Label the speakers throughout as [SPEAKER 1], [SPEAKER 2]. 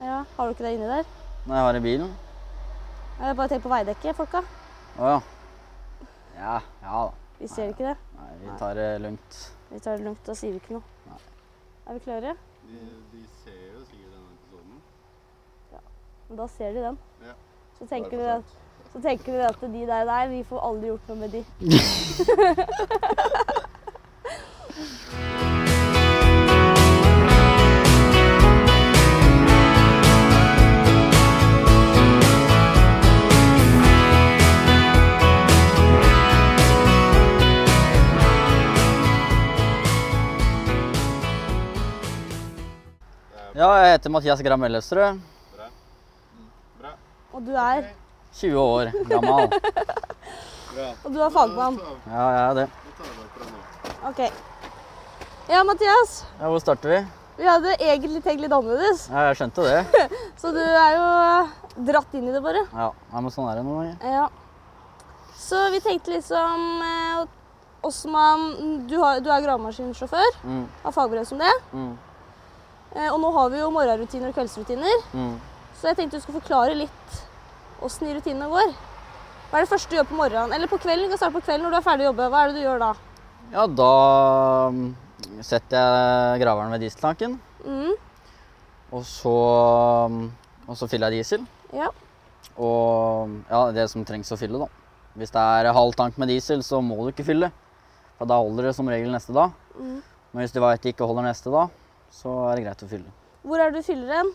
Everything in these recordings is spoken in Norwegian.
[SPEAKER 1] Har du ikke det inni der?
[SPEAKER 2] Når jeg har i bilen.
[SPEAKER 1] Nei, Jeg bare tenk på veidekket, folka.
[SPEAKER 2] Å ja. Ja, ja da.
[SPEAKER 1] Vi ser ikke det.
[SPEAKER 2] Nei, vi tar eh, det lugnt.
[SPEAKER 1] Vi tar det lugnt, da sier vi ikke noe.
[SPEAKER 2] Nei.
[SPEAKER 1] Er vi klare?
[SPEAKER 3] De, de ser jo sikkert denne episoden.
[SPEAKER 1] Men da ser de den.
[SPEAKER 3] Ja.
[SPEAKER 1] Så
[SPEAKER 3] Det er
[SPEAKER 1] tenker,
[SPEAKER 3] for
[SPEAKER 1] vi at,
[SPEAKER 3] sent.
[SPEAKER 1] så tenker vi at de der der, vi får aldri gjort noe med de.
[SPEAKER 2] Ja, jeg heter Mathias Gram Ellefstrød.
[SPEAKER 3] Bra. Bra.
[SPEAKER 1] Og du er,
[SPEAKER 2] 20 år gammel.
[SPEAKER 3] Bra.
[SPEAKER 1] og du er fagmann.
[SPEAKER 3] Nå tar-
[SPEAKER 2] Ja, jeg er det.
[SPEAKER 3] nå tar vi opp fra nå.
[SPEAKER 1] Ok. Ja, Mathias.
[SPEAKER 2] Ja, hvor starter vi?
[SPEAKER 1] Vi hadde egentlig tenkt litt annerledes,
[SPEAKER 2] Ja, jeg skjønte det.
[SPEAKER 1] så du er jo eh, dratt inn i det bare.
[SPEAKER 2] Ja, Nei, men sånn er det noen ganger.
[SPEAKER 1] Ja. Så vi tenkte liksom eh, Osman, du, har, du er gravemaskinsjåfør,
[SPEAKER 2] Mm,
[SPEAKER 1] har fagbrev som det.
[SPEAKER 2] mm,
[SPEAKER 1] Eh, og nå har vi jo morgenrutiner og kveldsrutiner,
[SPEAKER 2] mm.
[SPEAKER 1] så jeg tenkte du skulle forklare litt åssen de rutinene går. Hva er det første du gjør på morgenen? Eller på kvelden? Vi kan starte på kvelden når du er ferdig å jobbe. Hva er det du gjør da?
[SPEAKER 2] Ja, da mm, setter jeg graveren ved dieseltanken,
[SPEAKER 1] Mm,
[SPEAKER 2] og så, mm, og så fyller jeg diesel.
[SPEAKER 1] ja.
[SPEAKER 2] Og ja, det som trengs å fylle, da. Hvis det er halv tank med diesel, så må du ikke fylle. For da holder det som regel neste dag.
[SPEAKER 1] Mm.
[SPEAKER 2] Men hvis du veit det ikke holder neste dag, så er det greit å fylle.
[SPEAKER 1] Hvor er det du fyller den?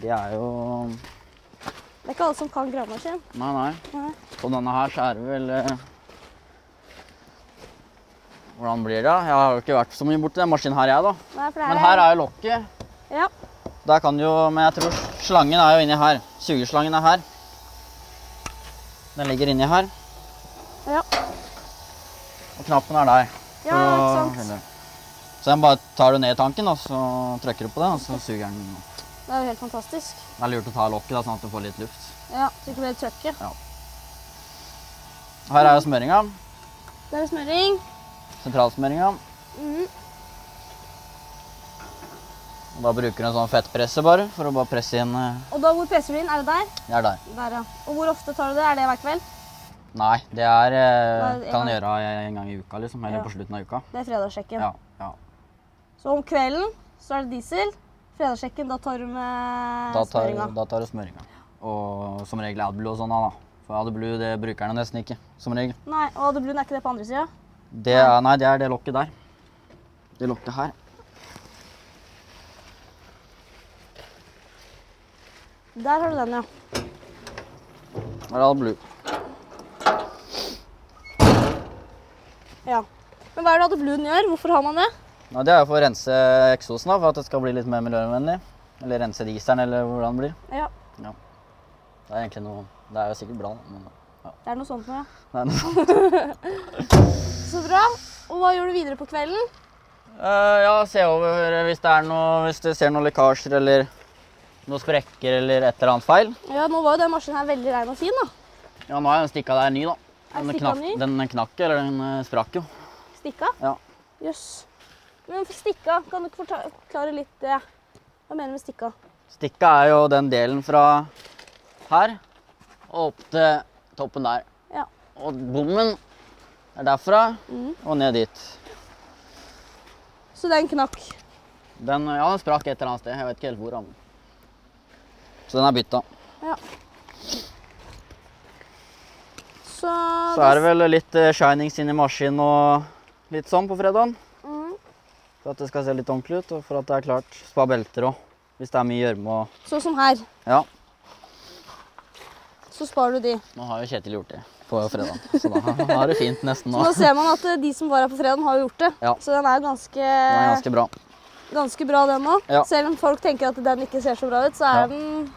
[SPEAKER 2] Det er jo
[SPEAKER 1] Det er ikke alle som kan gravemaskin.
[SPEAKER 2] Nei, nei.
[SPEAKER 1] Nei.
[SPEAKER 2] På denne her så er det vel eh, Hvordan blir det? da? Jeg har jo ikke vært så mye borti den maskinen her, jeg, da.
[SPEAKER 1] Nei, for det
[SPEAKER 2] Men her er jo lokket.
[SPEAKER 1] Ja.
[SPEAKER 2] Der kan du jo Men jeg tror slangen er jo inni her. Sugeslangen er her. Den ligger inni her.
[SPEAKER 1] Ja.
[SPEAKER 2] Og knappen er der.
[SPEAKER 1] ja,
[SPEAKER 2] Så-
[SPEAKER 1] ikke sant.
[SPEAKER 2] eller- Så den bare tar du ned i tanken, og så trykker du på det, og så suger den.
[SPEAKER 1] Det er jo helt fantastisk.
[SPEAKER 2] Det er lurt å ta av lokket, da, sånn at du får litt luft.
[SPEAKER 1] Ja, så ikke blir det trøkket.
[SPEAKER 2] Her er jo smøringa.
[SPEAKER 1] Der er smøring.
[SPEAKER 2] Sentralsmøringa.
[SPEAKER 1] Mm.
[SPEAKER 2] Og da bruker du en sånn fettpresse bare, for å bare presse inn eh,
[SPEAKER 1] Og da hvor peser du inn? Er det der?
[SPEAKER 2] Det er der.
[SPEAKER 1] Der, ja. Og hvor ofte tar du det? Er det hver kveld?
[SPEAKER 2] Nei, det er eh,
[SPEAKER 1] Hva er-
[SPEAKER 2] Kan gjøre en gang i uka, liksom. Eller
[SPEAKER 1] Ja.
[SPEAKER 2] på slutten av uka.
[SPEAKER 1] Det er fredagssjekken.
[SPEAKER 2] Ja. ja.
[SPEAKER 1] Så om kvelden så er det diesel. Fredagssjekken, da tar du med
[SPEAKER 2] Da tar,
[SPEAKER 1] smøringa.
[SPEAKER 2] da tar du smøringa. Og som regel AdBlue og sånn, da. For AdBlue det bruker den nesten ikke, som regel.
[SPEAKER 1] Nei, og AdBlue er ikke det på andre sida?
[SPEAKER 2] Det er, nei, det er det lokket der. Det lokket her.
[SPEAKER 1] Der har du den, ja.
[SPEAKER 2] Der er AdBlue.
[SPEAKER 1] ja. Men hva er det AdBlue gjør? Hvorfor har man det?
[SPEAKER 2] Ja, det er jo for å rense eksosen, da, for at det skal bli litt mer miljøvennlig. Eller rense dieselen, eller hvordan det blir.
[SPEAKER 1] Ja,
[SPEAKER 2] Det er egentlig noe Det er jo sikkert bra, da, men
[SPEAKER 1] det er noe sånt med det.
[SPEAKER 2] Nei, nei.
[SPEAKER 1] Så bra. Og hva gjør du videre på kvelden?
[SPEAKER 2] Eh, ja, se over hvis det er noe Hvis du ser noen lekkasjer eller noen sprekker eller et eller annet feil.
[SPEAKER 1] Ja, nå var jo den maskinen her veldig rein og fin, da.
[SPEAKER 2] Ja, nå er den stikka der ny, da.
[SPEAKER 1] Er
[SPEAKER 2] Den
[SPEAKER 1] stikka
[SPEAKER 2] knakk,
[SPEAKER 1] ny?
[SPEAKER 2] den knakk, eller den eh, sprakk jo.
[SPEAKER 1] Stikka?
[SPEAKER 2] Ja.
[SPEAKER 1] Jøss. Men for stikka, kan du ikke forta- forklare litt det? Hva mener du med stikka?
[SPEAKER 2] Stikka er jo den delen fra her og opp til toppen der.
[SPEAKER 1] Ja.
[SPEAKER 2] Og bommen er derfra
[SPEAKER 1] Mhm.
[SPEAKER 2] og ned dit.
[SPEAKER 1] Så den knakk.
[SPEAKER 2] Den, ja, den sprakk et eller annet sted. Jeg vet ikke helt hvor. han- Så den er bytta.
[SPEAKER 1] Ja. Så,
[SPEAKER 2] Så er det vel litt eh, shinings inn i maskinen og litt sånn på fredagen.
[SPEAKER 1] Mm.
[SPEAKER 2] For at det skal se litt ordentlig ut, og for at det er klart. Spa belter òg, hvis det er mye gjørme og
[SPEAKER 1] Sånn som her.
[SPEAKER 2] Ja.
[SPEAKER 1] Så sparer du de.
[SPEAKER 2] Nå har jo Kjetil gjort det på fredag, så da er det fint nesten nå.
[SPEAKER 1] Nå ser man at eh, de som var her på fredag, har jo gjort det.
[SPEAKER 2] Ja.
[SPEAKER 1] Så den er ganske,
[SPEAKER 2] Den er ganske bra.
[SPEAKER 1] ganske bra, den òg.
[SPEAKER 2] Ja.
[SPEAKER 1] Selv om folk tenker at den ikke ser så bra ut, så er
[SPEAKER 2] Ja.
[SPEAKER 1] den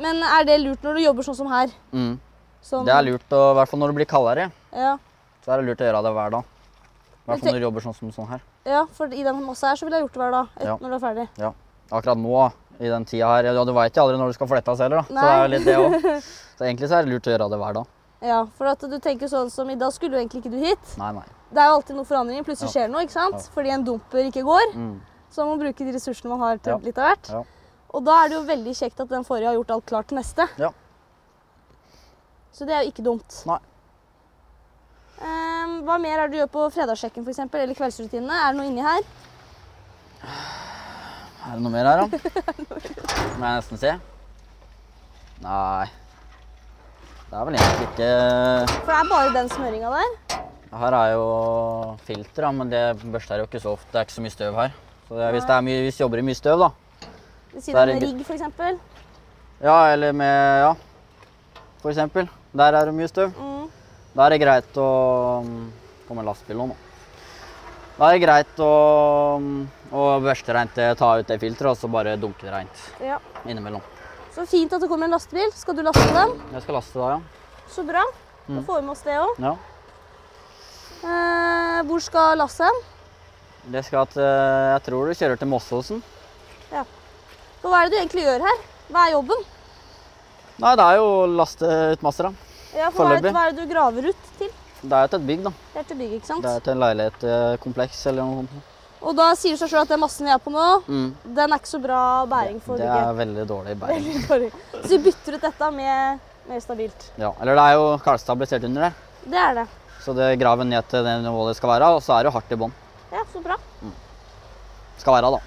[SPEAKER 1] Men er det lurt når du jobber sånn som her?
[SPEAKER 2] Mm.
[SPEAKER 1] Sånn-
[SPEAKER 2] Det er lurt, å- i hvert fall når det blir kaldere.
[SPEAKER 1] Ja.
[SPEAKER 2] Så er det lurt å gjøre det hver dag. I
[SPEAKER 1] Men
[SPEAKER 2] hvert fall når du jobber sånn som sånn her.
[SPEAKER 1] ja, for i den massa her så ville jeg gjort det hver dag. et-
[SPEAKER 2] Ja.
[SPEAKER 1] Når du er ferdig.
[SPEAKER 2] Akkurat nå, i den tida her Ja, du veit jo aldri når du skal flette av selv, da. Så det er jo litt det òg. Så egentlig så er det lurt å gjøre det hver dag.
[SPEAKER 1] Ja, For at du tenker sånn som i dag skulle jo egentlig ikke du hit.
[SPEAKER 2] Nei, nei.
[SPEAKER 1] Det er jo alltid noen forandringer. Plutselig
[SPEAKER 2] Ja.
[SPEAKER 1] skjer det noe, ikke sant?
[SPEAKER 2] Ja.
[SPEAKER 1] Fordi en dumper ikke går.
[SPEAKER 2] Mm.
[SPEAKER 1] Så man må bruke de ressursene man har til
[SPEAKER 2] Ja.
[SPEAKER 1] litt av hvert.
[SPEAKER 2] Ja.
[SPEAKER 1] Og da er det jo veldig kjekt at den forrige har gjort alt klart til neste.
[SPEAKER 2] Ja.
[SPEAKER 1] Så det er jo ikke dumt.
[SPEAKER 2] Nei.
[SPEAKER 1] Ehm, hva mer er det du gjør på fredagssjekken for eksempel, eller kveldsrutinene? Er det noe inni her?
[SPEAKER 2] Er det noe mer her, da? Må jeg nesten se. Nei. Det er vel egentlig ikke
[SPEAKER 1] For det er bare den smøringa der.
[SPEAKER 2] Her er jo filter, da, men det børster jo ikke så ofte. Det er ikke så mye støv her. Så det, hvis, det er mye, hvis det jobber i mye støv, da
[SPEAKER 1] Ved
[SPEAKER 2] Der
[SPEAKER 1] siden av
[SPEAKER 2] er
[SPEAKER 1] en
[SPEAKER 2] det-
[SPEAKER 1] rigg for eksempel.
[SPEAKER 2] Ja, eller med Ja, for eksempel. Der er det mye støv.
[SPEAKER 1] Mm.
[SPEAKER 2] Da er det greit å mm, komme lastbil nå, da. Da er det greit å, mm, å børste rent, eh, ta ut det filteret og så bare dunke det rent
[SPEAKER 1] Ja.
[SPEAKER 2] innimellom.
[SPEAKER 1] Så fint at det kommer en lastebil. Skal du laste den?
[SPEAKER 2] Jeg skal laste da, ja.
[SPEAKER 1] Så bra. Da
[SPEAKER 2] Mm.
[SPEAKER 1] får vi med oss det òg.
[SPEAKER 2] ja.
[SPEAKER 1] Eh, hvor skal Lasse hen?
[SPEAKER 2] Det skal at eh, Jeg tror du kjører til Mossåsen.
[SPEAKER 1] For hva er det du egentlig gjør her? Hva er jobben?
[SPEAKER 2] Nei, det er jo å laste ut masser, da.
[SPEAKER 1] Ja, for hva er, det,
[SPEAKER 2] Foreløpig.
[SPEAKER 1] hva er det du graver ut til?
[SPEAKER 2] Det er jo til et bygg, da.
[SPEAKER 1] Det er til bygg, ikke sant?
[SPEAKER 2] Det er til en leilighet, eh, kompleks eller noe sånt.
[SPEAKER 1] Og da sier det seg sjøl at den massen vi er på nå,
[SPEAKER 2] Mm.
[SPEAKER 1] den er ikke så bra bæring for
[SPEAKER 2] Det
[SPEAKER 1] bygget.
[SPEAKER 2] er veldig dårlig bæring.
[SPEAKER 1] Veldig dårlig. Så vi bytter ut dette med mer stabilt.
[SPEAKER 2] Ja, eller det er jo kalkstabilisert under der,
[SPEAKER 1] Det er det.
[SPEAKER 2] så det graver ned til det nivået det skal være, og så er det jo hardt i bånn.
[SPEAKER 1] Ja, så bra.
[SPEAKER 2] Skal være, da.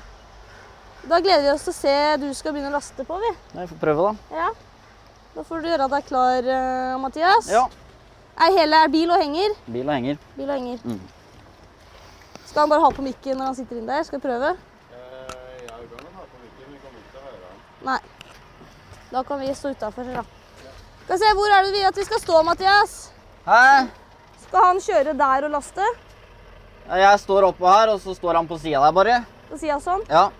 [SPEAKER 1] Da gleder vi oss til å se du skal begynne å laste på, vi.
[SPEAKER 2] Vi får prøve, da.
[SPEAKER 1] Ja. Da får du gjøre deg klar, eh, Mathias.
[SPEAKER 2] Ja.
[SPEAKER 1] Er hele er bil og henger?
[SPEAKER 2] Bil og henger.
[SPEAKER 1] Bil og henger.
[SPEAKER 2] Mm.
[SPEAKER 1] Skal han bare ha på mikken når han sitter inne der? Skal jeg prøve?
[SPEAKER 3] Eh, Ja, vi kan jo ta på mikken, vi kommer ikke til å høre den.
[SPEAKER 1] Nei. Da kan vi stå utafor her, da. Skal se, Hvor er det vi vil at vi skal stå, Mathias?
[SPEAKER 2] Hei!
[SPEAKER 1] Skal han kjøre der og laste?
[SPEAKER 2] Jeg står oppå her, og så står han på sida der, bare.
[SPEAKER 1] Da sier jeg sånn.
[SPEAKER 2] Ja.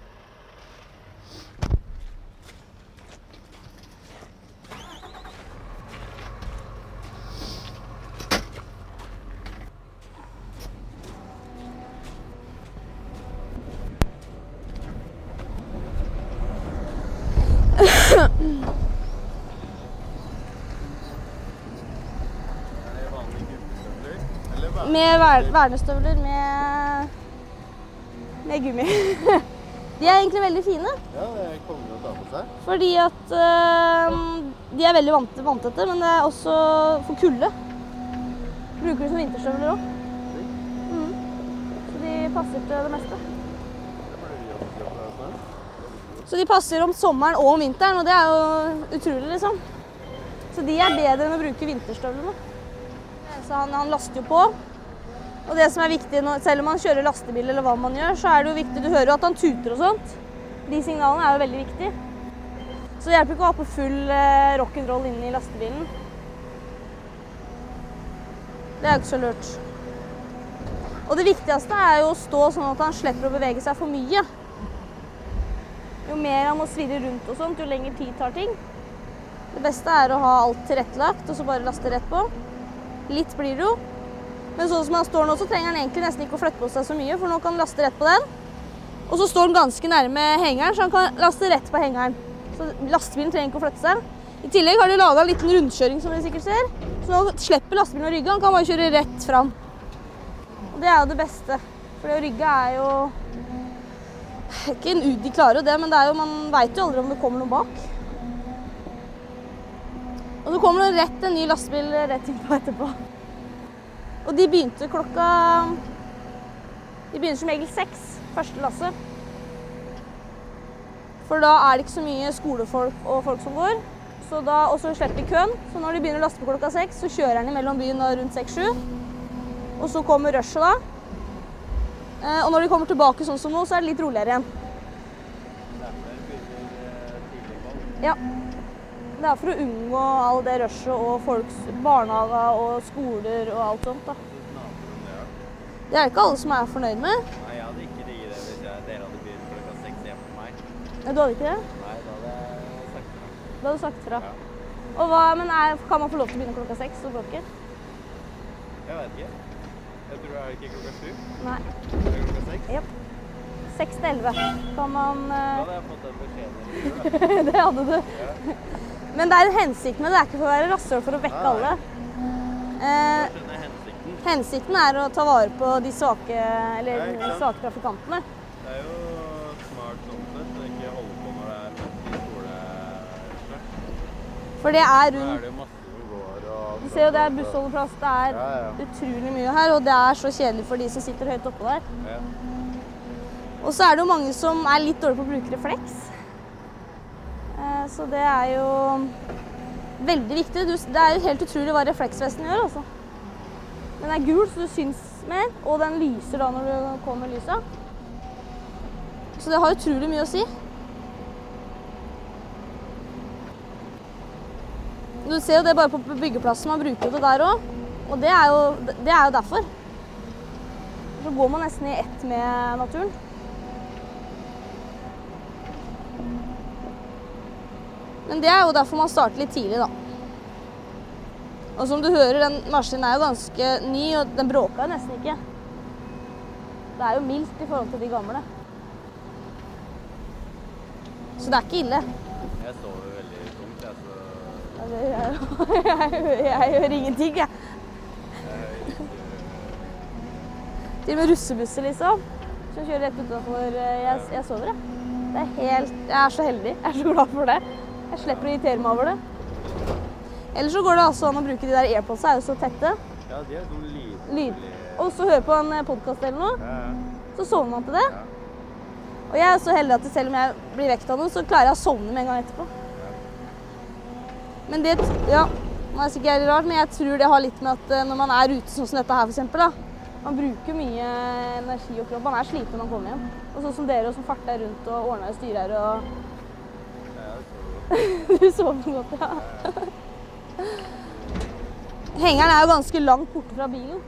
[SPEAKER 3] Er det vanlige gummistøvler? Eller hva?
[SPEAKER 1] Med ver vernestøvler med, med gummi. de er egentlig veldig fine,
[SPEAKER 3] Ja, det kommer de å ta på seg.
[SPEAKER 1] fordi at øhm, de er veldig vant vanntette, men det er også for kulde. Bruker de som vinterstøvler òg. Mm. Så de passer til det meste.
[SPEAKER 3] Det blir vi også kjøpt her snart.
[SPEAKER 1] Så de passer om sommeren og om vinteren, og det er jo utrolig, liksom. Så de er bedre enn å bruke vinterstøvlene. Så han, han laster jo på. Og det som er viktig, nå, selv om man kjører lastebil eller hva man gjør, så er det jo viktig Du hører jo at han tuter og sånt. De signalene er jo veldig viktige. Så det hjelper ikke å ha på full eh, rock'n'roll inne i lastebilen. Det er jo ikke så lurt. Og det viktigste er jo å stå sånn at han slipper å bevege seg for mye. Jo mer han må svirre rundt og sånt, jo lengre tid tar ting. Det beste er å ha alt tilrettelagt og så bare laste rett på. Litt blir det jo. Men sånn som han står nå, så trenger han egentlig nesten ikke å flytte på seg så mye, for nå kan han laste rett på den. Og så står han ganske nærme hengeren, så han kan laste rett på hengeren. Så lastebilen trenger ikke å flytte seg. I tillegg har de laga en liten rundkjøring, som dere sikkert ser. Så nå slipper lastebilen å rygge, han kan bare kjøre rett fram. Og det er jo det beste. For det å rygge er jo ikke en ut, de klarer jo det, men det er jo, man veit jo aldri om det kommer noen bak. Og så kommer det rett en ny lastebil rett innpå etterpå. Og de begynte klokka De begynner som regel seks, første lasse. For da er det ikke så mye skolefolk og folk som går. Så da, og så slipper de køen. Så når de begynner å laste på klokka seks, så kjører han imellom byen da rundt seks-sju. Og så kommer rushet, da. Eh, Og når de kommer tilbake sånn som nå, så er det litt roligere igjen. Ja. Det er for å unngå all det rushet og folks barnehager og skoler og alt sånt. da. Det er ikke alle som er fornøyd med.
[SPEAKER 4] Nei, jeg hadde ikke digget det hvis jeg, dere hadde begynt klokka seks hjemme for meg.
[SPEAKER 1] Nei, Du hadde ikke det?
[SPEAKER 4] Nei, da hadde jeg sagt det.
[SPEAKER 1] Det hadde du sagt fra. Og hva, men er, Kan man få lov til å begynne klokka seks og blokker?
[SPEAKER 4] Jeg vet ikke. Jeg tror er det ikke klokka sju? Er
[SPEAKER 1] Nei.
[SPEAKER 4] det klokka seks?
[SPEAKER 1] Seks til elleve kan man
[SPEAKER 4] Da
[SPEAKER 1] eh,
[SPEAKER 4] hadde jeg fått den beskjeden.
[SPEAKER 1] Det hadde du. Men det er en hensikt med det. Det er ikke for å være rasshøl for å vekke alle. Eh,
[SPEAKER 4] Jeg skjønner hensikten.
[SPEAKER 1] hensikten er å ta vare på de svake, eller,
[SPEAKER 3] Ja, ikke sant?
[SPEAKER 1] svake trafikantene.
[SPEAKER 3] Det er jo smart sånn sett, å ikke holde på når det er mørkt.
[SPEAKER 1] For det er
[SPEAKER 3] Her
[SPEAKER 1] rundt
[SPEAKER 3] er det masse som går og
[SPEAKER 1] Du ser jo det er bussholdeplass. Det er
[SPEAKER 3] Ja, ja.
[SPEAKER 1] utrolig mye her, og det er så kjedelig for de som sitter høyt oppå der.
[SPEAKER 3] Ja.
[SPEAKER 1] Og så er det jo mange som er litt dårlige på å bruke refleks. Eh, Så det er jo veldig viktig. Du, det er jo helt utrolig hva refleksvesten gjør, altså. Den er gul, så du syns mer, og den lyser da når du kommer med lyset. Så det har utrolig mye å si. Du ser jo det bare på byggeplassen, man bruker det der òg. Og det er, jo, det er jo derfor. Så går man nesten i ett med naturen. Men det er jo derfor man starter litt tidlig, da. Og som du hører, den maskinen er jo ganske ny, og den bråka jo nesten ikke. Det er jo mildt i forhold til de gamle. Så det er ikke ille.
[SPEAKER 4] Jeg sover veldig tungt, jeg, så
[SPEAKER 1] Altså, jeg, jeg, jeg gjør ingenting, jeg. Til og med russebusser, liksom, som kjører rett utenfor. eh, Jeg, jeg sover, jeg. Det er helt, jeg er så heldig. Jeg er så glad for det. Jeg slipper å irritere meg over det. Ellers så går det altså an å bruke de der airpodsene, er jo så tette.
[SPEAKER 4] Ja, de er sånn lyd...
[SPEAKER 1] Lyd. Og så høre på en podkast eller noe,
[SPEAKER 4] Ja, ja.
[SPEAKER 1] så sovner man til det. Og jeg er så heldig at selv om jeg blir vekt av noe, så klarer jeg å sovne med en gang etterpå. Men det Ja, nå er det sikkert veldig rart, men jeg tror det har litt med at eh, når man er ute sånn som dette her, f.eks., da Man bruker mye energi og kropp. Man er sliten når man kommer hjem. Og sånn som dere og som farter rundt og ordner og styrer og Du sover godt, ja. Hengeren er jo ganske langt borte fra bilen.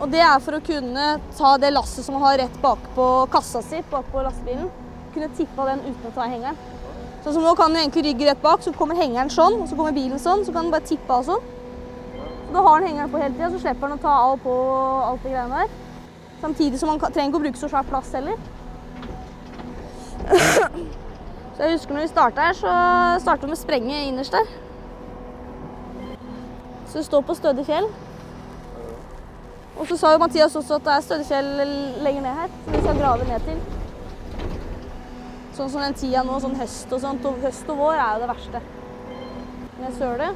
[SPEAKER 1] Og det er for å kunne ta det lasset som man har rett bakpå kassa si, bakpå lastebilen. Kunne tippe av den uten å ta i hengeren. Sånn som nå kan du egentlig rygge rett bak, så kommer hengeren sånn, og så kommer bilen sånn, så kan den bare tippe av sånn. Så da har den hengeren på hele tida, så slipper den å ta av og på og alt det greiene der. Samtidig som man kan- trenger ikke å bruke så svær plass heller. Så jeg husker når vi starta her, så starta vi med sprenge innerst der. Så vi står på stødig fjell. Og så sa jo Mathias også at det er stødig fjell lenger ned her, som vi skal grave ned til. Sånn som den tida nå, sånn høst og sånt. Og høst og vår er jo det verste. Med søle.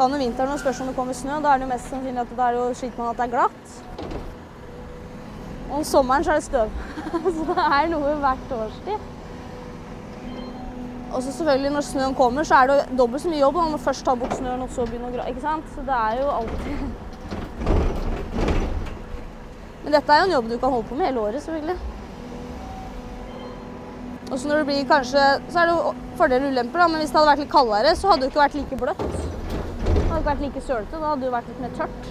[SPEAKER 1] Kan jo vinteren og spørs om det kommer snø. Da er det jo mest sannsynlig at det er jo sliter man at det er glatt. Og om sommeren så er det støv. så det er noe hvert årstid. Og så selvfølgelig når snøen kommer, så er det jo dobbelt så mye jobb når man først tar bort snøen og så begynner å gra... Ikke sant? Så det er jo alltid Men dette er jo en jobb du kan holde på med hele året, selvfølgelig. Og så når det blir kanskje, så er det jo fordeler og ulemper, da, men hvis det hadde vært litt kaldere, så hadde det jo ikke vært like bløtt. Det hadde ikke vært like sølete, da hadde det jo vært litt mer tørt.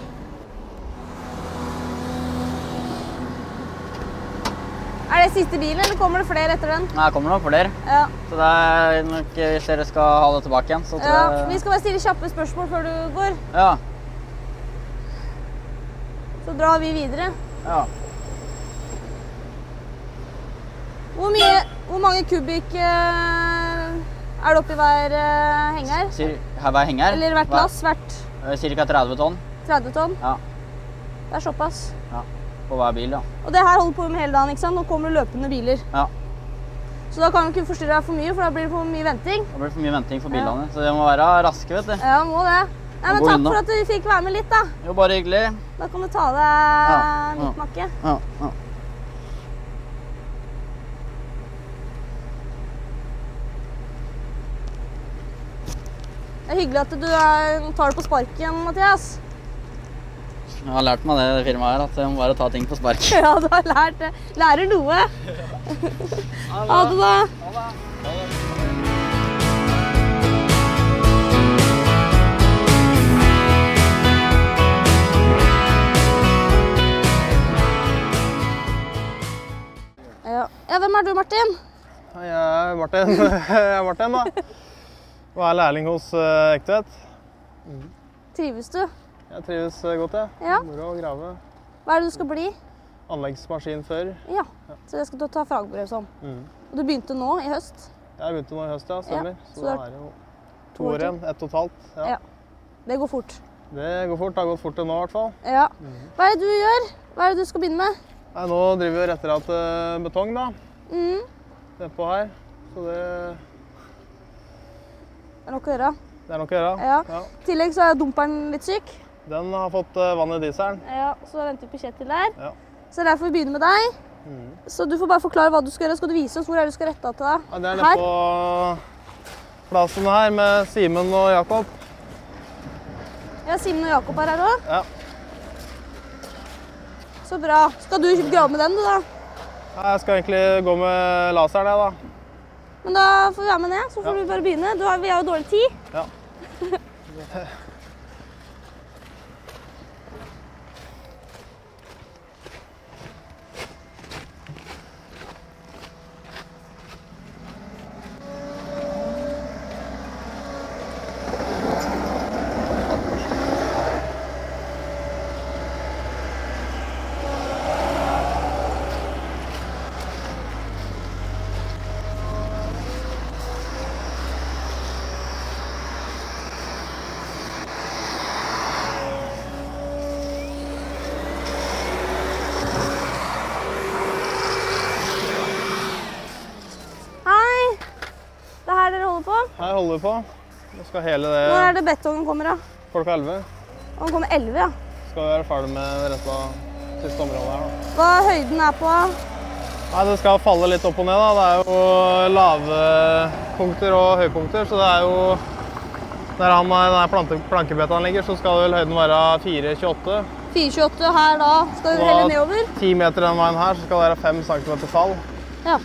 [SPEAKER 1] Er det siste bilen, eller kommer det flere etter den?
[SPEAKER 2] Nei, det kommer nok flere.
[SPEAKER 1] Ja.
[SPEAKER 2] Så det er nok Hvis dere skal ha det tilbake igjen, så tror
[SPEAKER 1] ja.
[SPEAKER 2] jeg
[SPEAKER 1] Vi skal bare stille kjappe spørsmål før du går,
[SPEAKER 2] Ja.
[SPEAKER 1] så drar vi videre.
[SPEAKER 2] ja.
[SPEAKER 1] Hvor, mye, hvor mange kubikk eh, er det oppi hver eh, henger?
[SPEAKER 2] Cir her hver henger.
[SPEAKER 1] Eller hvert lass? Hvert
[SPEAKER 2] Ca. 30 tonn
[SPEAKER 1] 30 tonn?
[SPEAKER 2] Ja.
[SPEAKER 1] Det er såpass.
[SPEAKER 2] på hver bil. da.
[SPEAKER 1] Og det her holder på med hele dagen, ikke sant? Nå kommer det løpende biler.
[SPEAKER 2] Ja.
[SPEAKER 1] Så da kan du ikke forstyrre deg for mye, for da blir det for mye venting.
[SPEAKER 2] Det blir for mye venting for
[SPEAKER 1] Ja.
[SPEAKER 2] bilene, så dere må være raske. vet du.
[SPEAKER 1] Ja, må det. Nei, men
[SPEAKER 2] Gå
[SPEAKER 1] takk
[SPEAKER 2] unna.
[SPEAKER 1] for at vi fikk være med litt, da.
[SPEAKER 2] Jo, bare hyggelig.
[SPEAKER 1] Da kan du ta deg
[SPEAKER 2] Ja, ja.
[SPEAKER 1] litt makke.
[SPEAKER 2] Ja, ja.
[SPEAKER 1] Det er hyggelig at du eh, tar det på sparken, Mathias.
[SPEAKER 2] Jeg har lært meg det firmaet her, at jeg må bare ta ting på spark.
[SPEAKER 1] Ja, du har lært det. Lærer noe. Ha det, da. Ja. ja, hvem er du, Martin?
[SPEAKER 5] Jeg er Eh, Martin. Jeg er Martin, da. Og er lærling hos eh, Ektvedt.
[SPEAKER 1] Trives du?
[SPEAKER 5] Jeg trives eh, godt, jeg.
[SPEAKER 1] Ja.
[SPEAKER 5] Moro å grave.
[SPEAKER 1] Hva er det du skal bli?
[SPEAKER 5] Anleggsmaskin før.
[SPEAKER 1] Ja, så det skal du ta fagbrev som.
[SPEAKER 5] Mhm.
[SPEAKER 1] Og du begynte nå i høst.
[SPEAKER 5] Jeg begynte nå i høst, ja. Stemmer.
[SPEAKER 1] Ja, så
[SPEAKER 5] Så da
[SPEAKER 1] det
[SPEAKER 5] er det jo to år igjen. Ett og et halvt.
[SPEAKER 1] Ja.
[SPEAKER 5] Ja.
[SPEAKER 1] Det går fort.
[SPEAKER 5] Det går fort. Det har gått fort til nå, i hvert fall.
[SPEAKER 1] Ja.
[SPEAKER 5] Mm.
[SPEAKER 1] Hva er det du gjør? Hva er det du skal begynne med?
[SPEAKER 5] Nei, nå driver vi og retter av til eh, betong, da.
[SPEAKER 1] Mhm.
[SPEAKER 5] Nedpå her. Så det
[SPEAKER 1] Det er nok å gjøre.
[SPEAKER 5] Det er nok å gjøre.
[SPEAKER 1] Ja.
[SPEAKER 5] Ja.
[SPEAKER 1] I tillegg så er dumperen litt syk,
[SPEAKER 5] Den har fått eh, vann i dieselen.
[SPEAKER 1] ja, så venter vi på Kjetil der.
[SPEAKER 5] Ja. Mm.
[SPEAKER 1] Så det er derfor vi begynner med deg. Så du får bare forklare hva du skal gjøre. Skal du vise oss hvor er det du skal rette av til deg?
[SPEAKER 5] Ja, det er nede
[SPEAKER 1] Her?
[SPEAKER 5] på plassen her med Simen og Jakob.
[SPEAKER 1] Ja, Simen og Jakob er her òg.
[SPEAKER 5] Ja.
[SPEAKER 1] Så bra. Skal du grave med den, du, da?
[SPEAKER 5] Jeg skal egentlig gå med laseren, jeg, da.
[SPEAKER 1] Men da får vi være med ned, så får
[SPEAKER 5] Ja.
[SPEAKER 1] du bare begynne. Du har, vi har jo dårlig tid.
[SPEAKER 5] Ja.
[SPEAKER 1] Hei! Det er her dere holder på.
[SPEAKER 5] Her holder vi på. Nå skal hele
[SPEAKER 1] Når er
[SPEAKER 5] det
[SPEAKER 1] det betongen kommer, da?
[SPEAKER 5] klokka 11.
[SPEAKER 1] Og den kommer 11, ja.
[SPEAKER 5] Skal vi være ferdig med resten av siste området her, da.
[SPEAKER 1] Hva høyden er på
[SPEAKER 5] Nei, Det skal falle litt opp og ned. da. Det er jo lave punkter og høypunkter. Så det er jo Der han er, der plante, plankebetaen ligger, så skal vel høyden være 4,28.
[SPEAKER 1] 4,28 her da? Skal du
[SPEAKER 5] Hva-
[SPEAKER 1] helle nedover?
[SPEAKER 5] 10 meter den veien her så skal det være 5 cm fall.
[SPEAKER 1] Ja,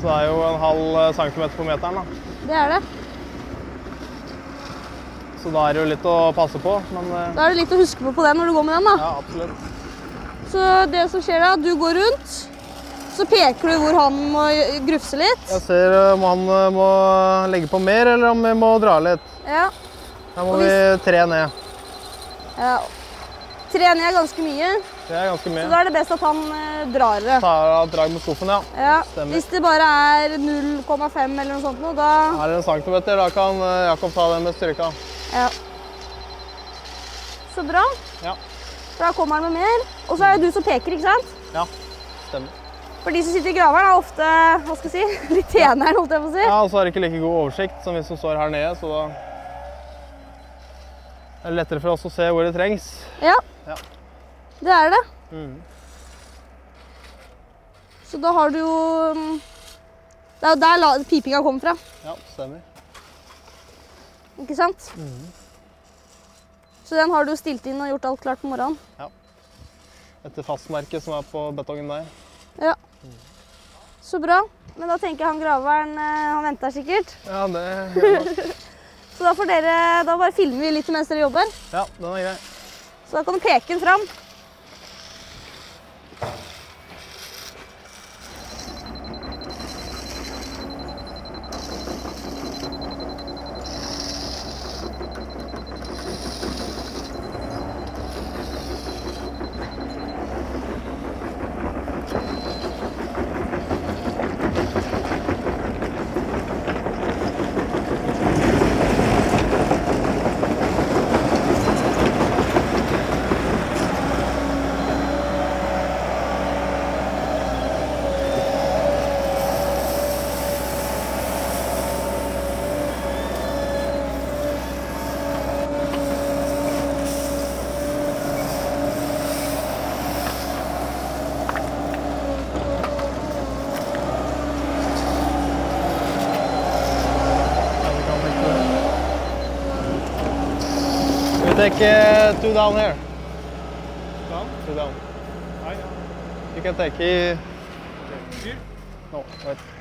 [SPEAKER 5] Så det er jo en halv eh, centimeter på meteren. da.
[SPEAKER 1] det er det.
[SPEAKER 5] Så da er det jo litt å passe på. Men eh,
[SPEAKER 1] Da er det litt å huske på på den når du går med den. da.
[SPEAKER 5] ja, absolutt.
[SPEAKER 1] Så det som skjer da, du går rundt, så peker du hvor han må grufse litt.
[SPEAKER 5] Jeg ser eh, om han eh, må legge på mer, eller om vi må dra litt.
[SPEAKER 1] Ja.
[SPEAKER 5] Her må
[SPEAKER 1] Og
[SPEAKER 5] vi
[SPEAKER 1] hvis-
[SPEAKER 5] tre ned.
[SPEAKER 1] ja. Trener jeg ganske mye,
[SPEAKER 5] Det er
[SPEAKER 1] så
[SPEAKER 5] ganske mye.
[SPEAKER 1] da er det best at han eh, drar det.
[SPEAKER 5] Tar av drag med skuffen, ja.
[SPEAKER 1] Ja.
[SPEAKER 5] Stemmer.
[SPEAKER 1] Hvis det bare er 0,5 eller noe sånt noe, da
[SPEAKER 5] Her er det en centimeter. Da kan eh, Jakob ta den med stryka.
[SPEAKER 1] Ja. Så bra.
[SPEAKER 5] Ja.
[SPEAKER 1] Da kommer han med mer. Og så er det du som peker, ikke sant?
[SPEAKER 5] Ja, stemmer.
[SPEAKER 1] For de som sitter i graveren, er ofte hva skal jeg si, litt tjeneren, holdt jeg på å si.
[SPEAKER 5] Ja, og så har de ikke like god oversikt som vi som står her nede, så da er det lettere for oss å se hvor det trengs.
[SPEAKER 1] Ja.
[SPEAKER 5] Ja.
[SPEAKER 1] Det er det.
[SPEAKER 5] Mhm.
[SPEAKER 1] Så da har du jo mm, Det er jo der la- pipinga kommer fra,
[SPEAKER 5] Ja, stemmer.
[SPEAKER 1] ikke sant? Så den har du stilt inn og gjort alt klart på morgenen.
[SPEAKER 5] Etter fastmerket som er på betongen der.
[SPEAKER 1] Ja. Så bra. Men da tenker jeg han graveren eh, han venter sikkert.
[SPEAKER 5] Ja, det gjør det.
[SPEAKER 1] Så da får dere, da bare filmer vi litt mens dere jobber.
[SPEAKER 5] Ja, den er grei.
[SPEAKER 1] Så da kan du peke den fram.
[SPEAKER 5] Ja, vi kan fikse det. We take eh, two down here.
[SPEAKER 4] Down?
[SPEAKER 5] Two down.
[SPEAKER 4] Nei, ja.
[SPEAKER 5] You can take eh,
[SPEAKER 4] Okay. Here?
[SPEAKER 5] No, wait.